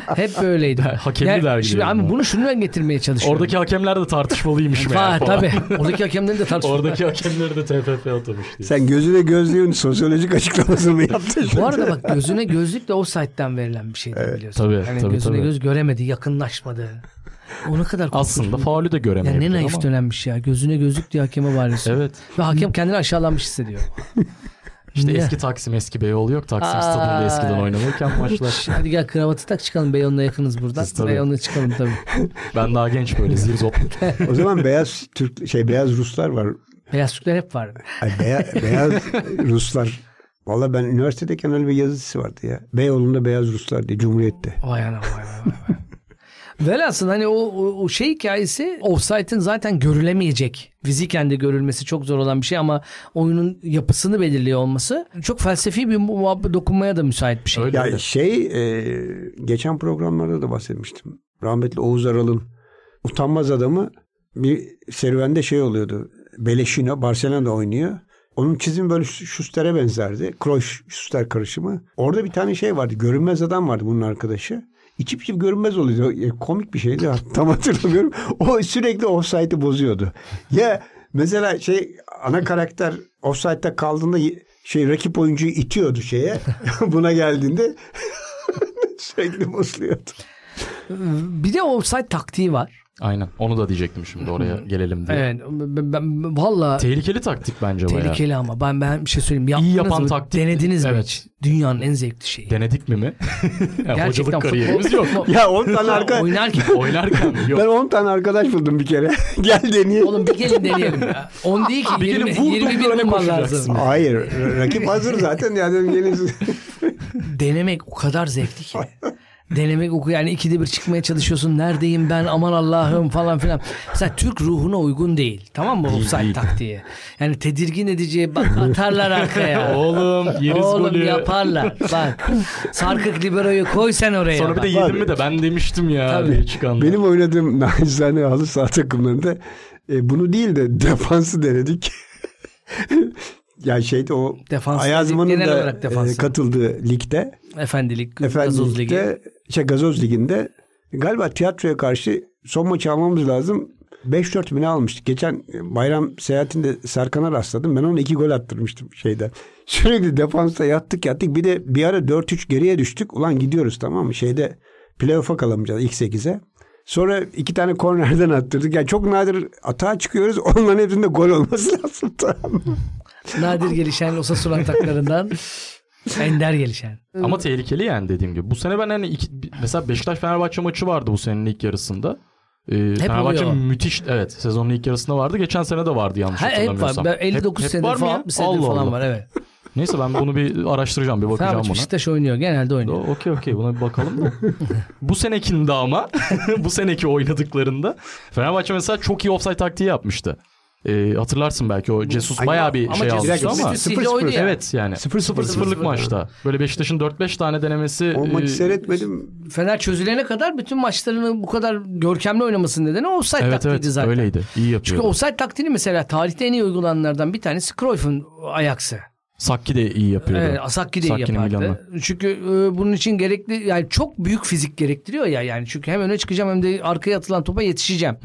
hep böyleydi.
Hakemli dergi
şimdi
diyorum
abi
ben.
bunu şundan getirmeye çalışıyorum.
oradaki hakemler de tartışmalıymış meğer
Ha,
falan.
tabii. Oradaki hakemleri de tartışma.
Oradaki hakemleri de TFF atamış diye.
Sen gözüne gözlüğün sosyolojik açıklamasını mı yaptın?
Bu arada bak gözüne gözlük de o site'den verilen bir şeydi biliyorsun.
tabii,
Yani
tabii,
gözüne
tabii.
göz göremedi, yakınlaşmadı. O ne kadar korkunç.
Aslında faulü de
Ya
göremeyebilir
ne
ama.
naif dönemmiş ya. Gözüne gözlük diye hakeme bağırıyorsun.
Evet.
Ve hakem kendini aşağılanmış hissediyor.
İşte
Ne?
eski Taksim eski Beyoğlu yok. Taksim
Aa.
stadında eskiden oynanırken maçlar.
Hadi gel kravatı tak çıkalım. Beyoğlu'na yakınız buradan.
Siz tabii.
Beyoğlu'na çıkalım tabii.
Ben daha genç böyle zirzop.
o zaman beyaz Türk şey beyaz Ruslar var.
Beyaz Türkler hep vardı.
Ay, beya- beyaz Ruslar. Valla ben üniversitedeyken öyle bir yazısı vardı ya. Beyoğlu'nda beyaz Ruslar diye Cumhuriyet'te.
Vay anam vay vay vay. vay. Velhasıl hani o, o, o şey hikayesi offside'ın zaten görülemeyecek. Fiziken de görülmesi çok zor olan bir şey ama oyunun yapısını belirliyor olması çok felsefi bir muhabbet dokunmaya da müsait bir şey.
Öyle.
Ya şey e, geçen programlarda da bahsetmiştim. Rahmetli Oğuz Aral'ın utanmaz adamı bir serüvende şey oluyordu. Beleşino Barcelona'da oynuyor. Onun çizimi böyle Schuster'e benzerdi. Kroş Schuster karışımı. Orada bir tane şey vardı. Görünmez adam vardı bunun arkadaşı. İçip içip görünmez oluyordu. Ya komik bir şeydi. Ha, Tam hatırlamıyorum. O sürekli offside'ı bozuyordu. Ya mesela şey ana karakter offside'da kaldığında şey rakip oyuncuyu itiyordu şeye. Buna geldiğinde sürekli bozuluyordu.
Bir de offside taktiği var.
Aynen. Onu da diyecektim şimdi oraya gelelim diye.
Evet. Ben, ben- valla
Tehlikeli taktik bence bu ya.
tehlikeli ama ben ben bir şey söyleyeyim. Yaptınız
yapan
mı?
taktik-
Denediniz mi
Evet.
hiç? Dünyanın en zevkli şeyi.
Denedik mi mi? Ya,
Gerçekten
Hocalık kariyerimiz yok.
Ya 10 tane arka
Oynarken
Oynarken mi? yok.
ben 10 tane arkadaş buldum bir kere. Gel deneyelim.
oğlum bir gelin deneyelim ya. 10 değil ki
Bir gelin
20,
vurdum
21
böyle
bulman
koşacaksın.
lazım.
Hayır. ra- Rakip hazır zaten. Ya dedim gelin.
denemek o kadar zevkli ki. denemek o yani ikide bir çıkmaya çalışıyorsun. Neredeyim ben aman Allah'ım falan filan. Mesela Türk ruhuna uygun değil. Tamam mı offside
değil.
taktiği? Yani tedirgin edici bak atarlar arkaya.
Oğlum yeriz
Oğlum
golü.
yaparlar. Bak sarkık liberoyu koy sen oraya.
Sonra bir
bak.
de yedim mi de ben demiştim ya
Tabii.
diye çıkanlar.
Benim oynadığım nacizane halı saha takımlarında e, bunu değil de defansı denedik. ya şeyde o
Defans
Ayazman'ın
dedik, genel
da
olarak defans.
e, katıldığı ligde
Efendilik, Gazoz
Efendim
Ligi.
ligde şey Gazoz Ligi'nde galiba tiyatroya karşı son maçı almamız lazım. 5-4 bine almıştık. Geçen bayram seyahatinde Serkan'a rastladım. Ben ona iki gol attırmıştım şeyde. Sürekli defansta yattık yattık. Bir de bir ara 4-3 geriye düştük. Ulan gidiyoruz tamam mı? Şeyde playoff'a kalamayacağız ilk 8'e. Sonra iki tane kornerden attırdık. Yani çok nadir atağa çıkıyoruz. Onların hepsinde gol olması lazım. Tamam mı?
Nadir gelişen Osasuna ataklarından Ender gelişen.
Ama tehlikeli yani dediğim gibi. Bu sene ben hani iki, bi- mesela Beşiktaş Fenerbahçe maçı vardı bu senenin ilk yarısında. Ee, Fenerbahçe
oluyor.
müthiş evet sezonun ilk yarısında vardı. Geçen sene de vardı yanlış
Ha, hep var.
hatırlamıyorsam.
Ben 59
hep
senedir
var mı
falan,
ya?
60 senedir
Allah
falan
Allah.
var evet.
Neyse ben bunu bir araştıracağım bir bakacağım
Fenerbahçe
buna.
Beşiktaş oynuyor. Genelde oynuyor.
O- Okey okey buna bir bakalım da. bu senekinde ama bu seneki oynadıklarında Fenerbahçe mesela çok iyi offside taktiği yapmıştı. Ee, hatırlarsın belki o Cesus
Ay,
bayağı bir
ama
şey
Cesus-
almıştı
Cesus-
ama.
Cesus-
Sihli oynuyor.
Evet yani. 0-0'lık
0-0-0.
maçta. Böyle Beşiktaş'ın 4-5 tane denemesi.
O
e,
Ee,
maçı seyretmedim.
Fener çözülene kadar bütün maçlarını bu kadar görkemli oynamasının nedeni offside
Evet
taktiğiydi
evet
zaten.
öyleydi. İyi yapıyor.
Çünkü offside taktiğini mesela tarihte en iyi uygulananlardan bir tanesi Cruyff'un ayaksı.
Sakki de iyi yapıyordu.
Evet, Asakki de iyi
Sakki'nin
yapardı.
Milan'la.
Çünkü e, bunun için gerekli yani çok büyük fizik gerektiriyor ya yani çünkü hem öne çıkacağım hem de arkaya atılan topa yetişeceğim.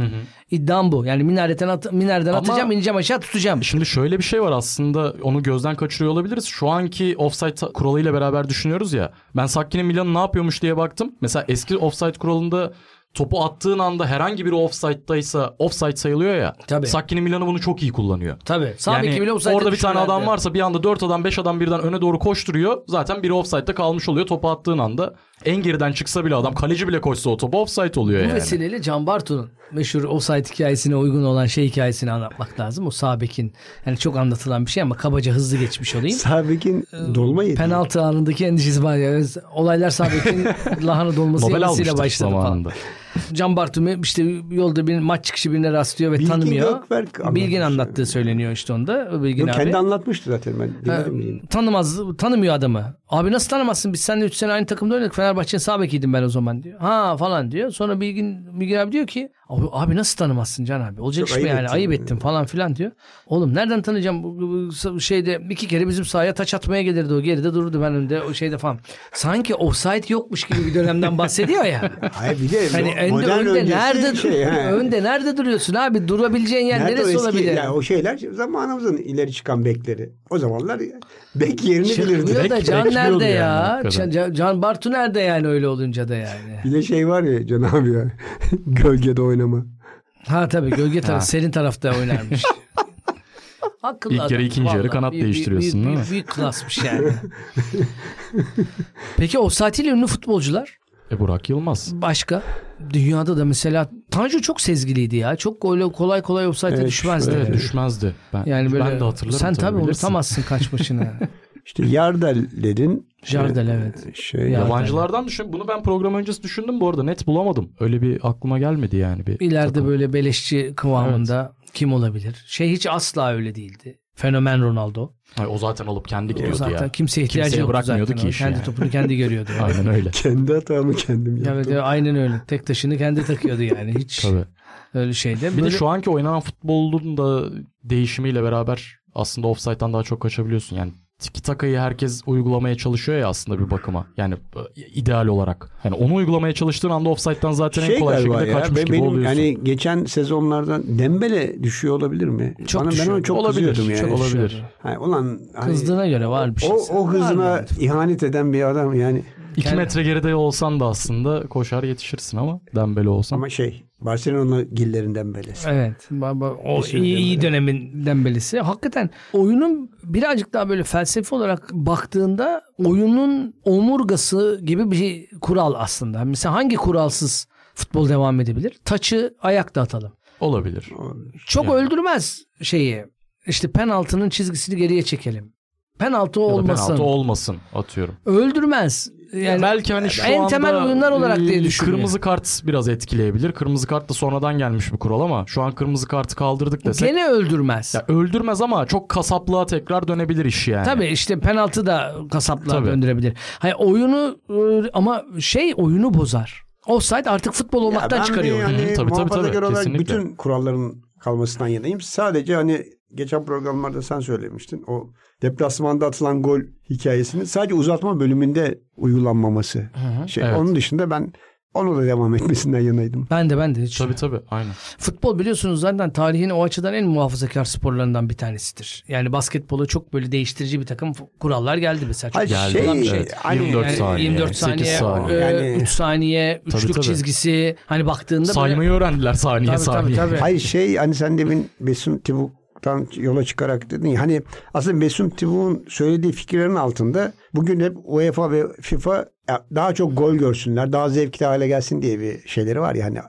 İddiam bu. Yani minareten at- minareden
Ama-
atacağım, ineceğim aşağı tutacağım.
Şimdi şöyle bir şey var aslında onu gözden kaçırıyor olabiliriz. Şu anki offside ta- kuralıyla beraber düşünüyoruz ya. Ben Sakki'nin Milan'ı ne yapıyormuş diye baktım. Mesela eski offside kuralında topu attığın anda herhangi biri offside'daysa offside sayılıyor ya.
Tabii.
Sakki'nin Milan'ı bunu çok iyi kullanıyor.
Tabii. Sağ beki bile
yani
offside'e
orada bir tane
düşürüyorlardı.
adam varsa bir anda 4 adam 5 adam birden öne doğru koşturuyor. Zaten biri offside'da kalmış oluyor. Topu attığın anda en geriden çıksa bile adam kaleci bile koşsa o topa offside oluyor
Bu
yani.
vesileyle Can Bartu'nun meşhur offside hikayesine uygun olan şey hikayesini anlatmak lazım. O sağ bekin yani çok anlatılan bir şey ama kabaca hızlı geçmiş olayım.
Sabek'in dolma yedi.
e, Penaltı anındaki endişesi var ya. Olaylar sağ bekin lahana dolması
Nobel
endişesiyle
almıştı
başladı falan.
zamanında.
Can Bartumi işte yolda bir maç çıkışı birine rastlıyor ve
Bilgin
tanımıyor.
Gökberk anlatmış.
Bilgin anlattığı söyleniyor işte onda. Bilgin
Yok,
abi.
kendi anlatmıştı zaten ben. dinledim yine.
tanımaz, tanımıyor adamı. Abi nasıl tanımazsın? Biz seninle 3 sene aynı takımda oynadık. Fenerbahçe'nin sağ bekiydim ben o zaman diyor. Ha falan diyor. Sonra Bilgin, Bilgin abi diyor ki abi, abi nasıl tanımazsın Can abi? Olacak
Çok
iş mi
ayıp
yani?
ettin
Ayıp
yani.
ettim falan filan diyor. Oğlum nereden tanıyacağım? Bu- bu- bu Şeyde iki kere bizim sahaya taç atmaya gelirdi o. Geride dururdu ben önde o şeyde falan. Sanki offside yokmuş gibi bir dönemden bahsediyor ya.
Hayır bir de
Hani önde,
modern
önde
öncesi
nerede
şey, he.
önde nerede duruyorsun abi? Durabileceğin yer
Nerede o
neresi
eski-
olabilir?
yani o şeyler zamanımızın ileri çıkan bekleri. O zamanlar ya, bek yerini
Şey
bilirdi.
Çıkmıyor da
Bek-
Can
bekliyordu
nerede
yani
ya?
hakikaten.
Can, Can Bartu nerede yani öyle olunca da yani?
Bir de şey var ya Can abi ya. gölgede oynama.
Ha tabii gölge taraf senin tarafta oynarmış. Akıllı
İlk yarı,
adam,
ikinci yarı
vallahi.
kanat
Büyük-
değiştiriyorsun,
büyük,
değil mi?
büyük, büyük klasmış yani. Peki o saatiyle ünlü futbolcular
E Burak Yılmaz.
başka? Dünyada da mesela Tanju çok sezgiliydi ya. Çok öyle kolay kolay offside'e
Evet,
düşmezdi.
Evet,
yani.
düşmezdi. Ben,
Yani böyle
ben de hatırlarım.
sen tabii
bilirsin.
unutamazsın kaçmışını.
İşte Yardel dedin.
Jardel evet.
Şey,
Ya-
Yabancılardan düşün. Bunu ben program öncesi düşündüm bu arada. Net bulamadım. Öyle bir aklıma gelmedi yani. Bir
İleride
takım.
böyle beleşçi kıvamında kim olabilir? Şey hiç asla öyle değildi. Fenomen Ronaldo.
Hayır, o zaten alıp kendi
O
gidiyordu
zaten
ya.
kimseye ihtiyacı
Kimseye
yoktu
bırakmıyordu
zaten.
ki
O
işi
kendi
yani.
topunu kendi görüyordu. yani.
Aynen öyle.
kendi hatamı kendim yaptım.
Evet, evet, aynen öyle. Tek taşını kendi takıyordu yani. Hiç
Tabii.
öyle şey şeyde.
Bir de şu anki oynanan futbolun da değişimiyle beraber aslında offside'dan daha çok kaçabiliyorsun. Yani tiki takayı herkes uygulamaya çalışıyor ya aslında bir bakıma. Yani e, ideal olarak. Yani onu uygulamaya çalıştığın anda offside'dan zaten en
Şey
kolay
galiba
şekilde
ya,
kaçmış
ben-
gibi
benim
oluyorsun.
yani geçen sezonlardan Dembele düşüyor olabilir mi?
Çok
Bana, ben
düşüyor.
ona çok
olabilir.
kızıyordum yani.
Çok olabilir.
Düşüyordu.
Hani, ulan hani,
kızdığına göre var bir şey.
o, o
Var
hızına
mı?
ihanet eden bir adam yani.
2
Yani-
metre geride olsan da aslında koşar yetişirsin ama dembele olsan.
Ama şey Barcelona gillerinden belesi.
Evet. Baba, o
Bir sürü
iyi, iyi
Dembele.
dönemin dembelisi. Hakikaten şey oyunun birazcık daha böyle felsefi olarak baktığında oyunun omurgası gibi bir kural aslında. Mesela hangi kuralsız futbol devam edebilir? Taçı ayakta atalım.
Olabilir.
Çok
Yani.
öldürmez şeyi. İşte penaltının çizgisini geriye çekelim. Penaltı
Ya da
olmasın.
penaltı olmasın atıyorum.
öldürmez. Yani
Belki hani şu
en
anda
temel oyunlar olarak diye
e,
düşünüyor.
Kırmızı kart biraz etkileyebilir. Kırmızı kart da sonradan gelmiş bir kural ama şu an kırmızı kartı kaldırdık desek.
gene öldürmez.
Ya öldürmez ama çok kasaplığa tekrar dönebilir iş yani.
Tabii işte penaltı da kasaplar
Tabii.
döndürebilir. Hayır oyunu e, ama şey oyunu bozar. Offside artık futbol olmaktan çıkarıyor. oyunu.
Yani
Hı, tabii, tabii,
muhafazakar
tabii,
olarak
kesinlikle.
bütün kuralların kalmasından yanayım. Sadece hani geçen programlarda sen söylemiştin. O deplasmanda atılan gol hikayesini sadece uzatma bölümünde uygulanmaması. şey,
evet.
Onun dışında ben onu da devam etmesinden yanaydım.
Ben de ben de. hiç-
Tabii tabii aynen.
Futbol biliyorsunuz zaten tarihin o açıdan en muhafazakar sporlarından bir tanesidir. Yani basketbola çok böyle değiştirici bir takım f- kurallar geldi mesela. Çok
Hayır,
Geldi.
şey,
olan bir
şey, hani-
24
Yani
saniye.
24
8
saniye,
saniye.
e,
Yani-
üç saniye,
Tabii,
üçlük
tabii.
çizgisi. Hani baktığında böyle...
Saymayı öğrendiler saniye
Tabii, tabii,
saniye.
tabii.
Hayır şey hani sen demin Besim Tibuk'tan yola çıkarak dedin ya hani aslında Besim Tibuk'un söylediği fikirlerin altında bugün hep UEFA ve FIFA ya, daha çok gol görsünler, daha zevkli hale gelsin diye bir şeyleri var ya hani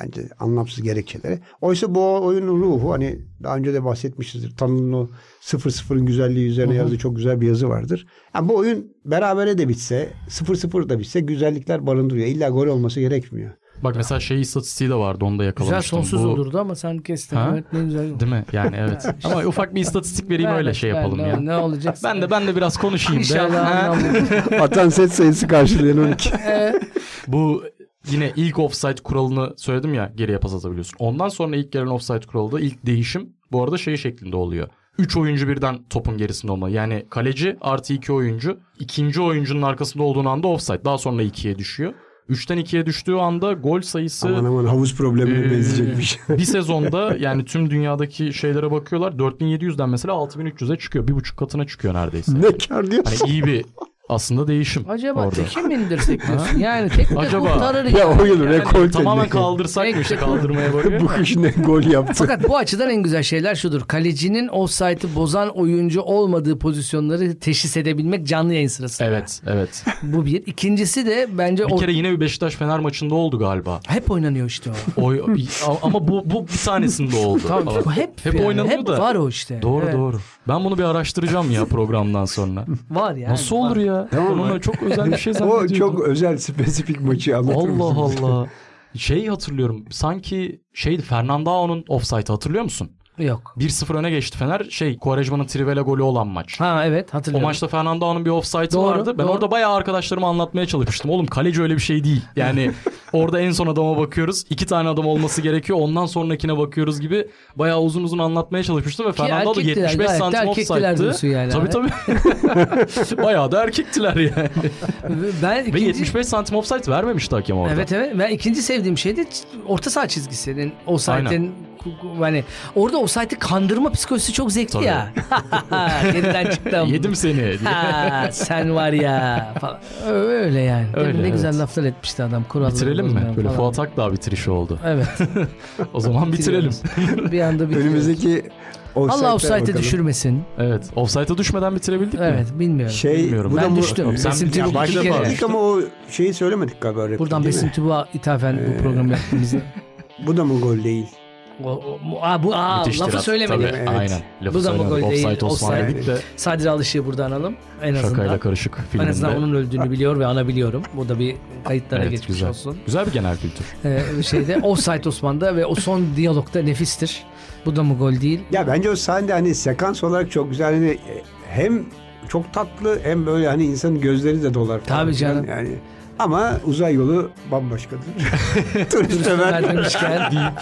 bence anlamsız gerekçeleri. Oysa bu oyunun ruhu hani daha önce de bahsetmişizdir. Tanrı'nın o 0-0'ın güzelliği üzerine yazdığı çok güzel bir yazı vardır. Yani bu oyun berabere de bitse, 0-0 da bitse güzellikler barındırıyor. İlla gol olması gerekmiyor.
Bak mesela şey istatistiği de vardı onu da
Güzel
yakalamıştım.
sonsuz
Bu-
olurdu ama sen kestin.
Ha?
Evet, ne güzel.
Değil mi? Yani evet. ama ufak bir istatistik vereyim
Ver,
öyle şey
ver,
yapalım
ne-
ya.
Ne olacak?
Ben de ben de biraz konuşayım da.
İnşallah.
Ha?
anlamlı.
Atan set sayısı karşılayan 12.
Bu yine ilk offside kuralını söyledim ya geriye pas atabiliyorsun. Ondan sonra ilk gelen offside kuralı da ilk değişim bu arada şey şeklinde oluyor. 3 oyuncu birden topun gerisinde olmalı. Yani kaleci artı 2 oyuncu. ikinci oyuncunun arkasında olduğun anda offside. Daha sonra 2'ye düşüyor. 3'ten 2'ye düştüğü anda gol sayısı
Aman aman havuz problemine
Ee,
benzeyecekmiş.
bir sezonda yani tüm dünyadaki şeylere bakıyorlar. 4700'den mesela 6300'e çıkıyor. Bir buçuk katına çıkıyor neredeyse.
ne kar diyorsun?
Hani iyi bir aslında değişim
Acaba
orada.
teke mi indirsek diyorsun? Yani tek de
Acaba.
kurtarır
ya
ya.
oyun rekor
Hani Tamamen
tendeki.
kaldırsak mı işte kaldırmaya bakıyor.
Bu kış ne gol yaptı.
Fakat bu açıdan en güzel şeyler şudur. Kalecinin offside'ı bozan oyuncu olmadığı pozisyonları teşhis edebilmek canlı yayın sırasında.
Evet, evet.
Bu bir. İkincisi de bence
Bir
o-
kere yine bir Beşiktaş Fener maçında oldu galiba.
hep oynanıyor işte o.
Oy, ama bu bu bir tanesinde oldu.
Tamam.
Falan.
hep
hep
yani,
oynanıyor
hep
da.
var o işte.
Doğru
Evet,
doğru. Ben bunu bir araştıracağım ya programdan sonra.
Var yani.
Nasıl olur ya? Ben Ona çok özel bir şey
o
zannediyordum.
çok özel spesifik maçı anlatır
Allah
mısın?
Allah. Şey hatırlıyorum sanki şeydi Fernandao'nun offside'ı hatırlıyor musun?
Yok.
1-0 öne geçti Fener. Şey Quaresma'nın Trivela golü olan maç.
Ha evet
O
hatırlıyorum.
maçta Fernando'nun bir offside'ı
Doğru,
vardı. Ben
doğru.
orada bayağı arkadaşlarıma anlatmaya çalışmıştım. Oğlum kaleci öyle bir şey değil. Yani orada en son adama bakıyoruz. iki tane adam olması gerekiyor. Ondan sonrakine bakıyoruz gibi bayağı uzun uzun anlatmaya çalışmıştım. Ve Fernando da
erkektiler,
75
gayet de
santim
erkektiler diyorsun
offside'dı.
yani.
tabii tabii. bayağı da erkektiler yani.
ben
Ve
ikinci-
75 santim offside vermemişti hakem orada.
Evet evet. Ben ikinci sevdiğim şey de ç- orta saha çizgisinin o saatin hani orada o saati kandırma psikolojisi çok zevkli
Tabii.
ya. Yeniden çıktım.
Yedim seni. diye.
Ha, sen var ya falan. Ö- Öyle yani. Değil mi?
Öyle,
ne
evet.
güzel laflar etmişti adam. Kuralları
Bitirelim mi?
bozmayan
Böyle
falan.
Fuat Akdağ bitirişi oldu.
Evet.
O zaman bitirelim.
bitiriyoruz. bir anda bitiriyoruz.
Önümüzdeki
Allah offside'e
bakalım.
düşürmesin.
Evet. Offside'a düşmeden bitirebildik mi?
Evet bilmiyorum.
Şey,
Bilmiyorum.
bu da
ben
bu-
düştüm.
Sen
Besim
bir-
tübü
Ya
iki
başta
kere.
bağırmış.
Dedik ama o şeyi söylemedik galiba. replik,
Buradan
değil
Besim
mi? Ee.
Tübü'ye ithafen bu programı yaptığımızı.
Bu da mı gol değil?
O, o- aa, bu aa,
Müthiştir
lafı
hat.
söylemedim.
Tabii,
Evet.
Aynen. Lafı
Bu da mı
söylemedik.
gol değil,
Offside Osman
offside.
dedik de
Sadri Alışık'ı burada analım. En
şakayla
azından.
karışık
En
filminde.
azından onun öldüğünü biliyor ve anabiliyorum. Bu da bir kayıtlara
Evet,
geçmiş
güzel.
olsun.
Güzel bir genel kültür.
Ee, şeyde Offside Osman'da ve o son diyalogda nefistir. Bu da mı gol değil?
Ya bence o sahne hani sekans olarak çok güzel. Hani hem çok tatlı hem böyle hani insanın gözleri de dolar. falan
Tabii
filan
canım.
Yani. Ama uzay yolu bambaşkadır. Turist Ömer.
Vermemişken.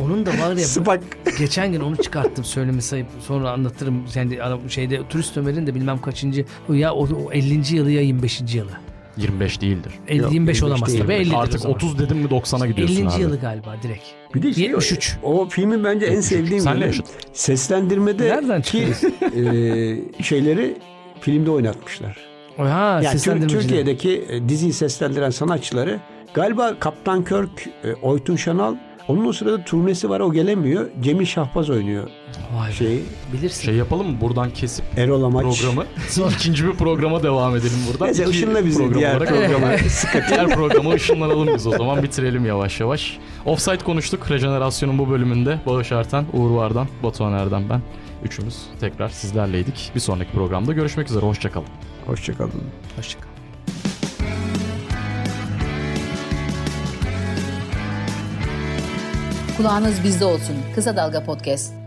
Onun da var ya
Spak.
geçen gün onu çıkarttım söyleme sayıp sonra anlatırım. Yani ara- şeyde Turist Ömer'in de bilmem kaçıncı ya o, o 50. yılı ya 25. yılı.
25 değildir.
50
Yok,
25 olamaz
değil.
tabii 50 'dir o
Artık
zaman.
30 dedim mi 90'a gidiyorsun
50.
abi.
yılı galiba direkt.
Bir de şey,
73.
O filmin bence en sevdiğim
Senle
bölüm,
yaşıt.
seslendirmede
Nereden
ki e, şeyleri filmde oynatmışlar.
Ha,
Yani Tür-
seslendirmeciler.
Türkiye'deki e, diziyi seslendiren sanatçıları galiba Kaptan Körk, e, Oytun Şanal onun o sırada turnesi var o gelemiyor. Cemil Şahbaz oynuyor
Vay be.
şeyi.
Bilirsin.
Şey yapalım mı? Buradan kesip
Erol Amaç.
programı. İkinci bir programa devam edelim buradan.
Neyse,
İki
ışınla bizi
program
diğer
olarak
programa.
programı- diğer programı ışınlanalım biz o zaman. Bitirelim yavaş yavaş. Offside konuştuk. Rejenerasyon'un bu bölümünde Bağış Artan, Uğur Vardan, Batuhan Erdem ben. Üçümüz tekrar sizlerleydik. Bir sonraki programda görüşmek üzere. Hoşçakalın.
Hoşçakalın.
Hoşçakal.
Kulağınız bizde olsun. Kısa Dalga Podcast.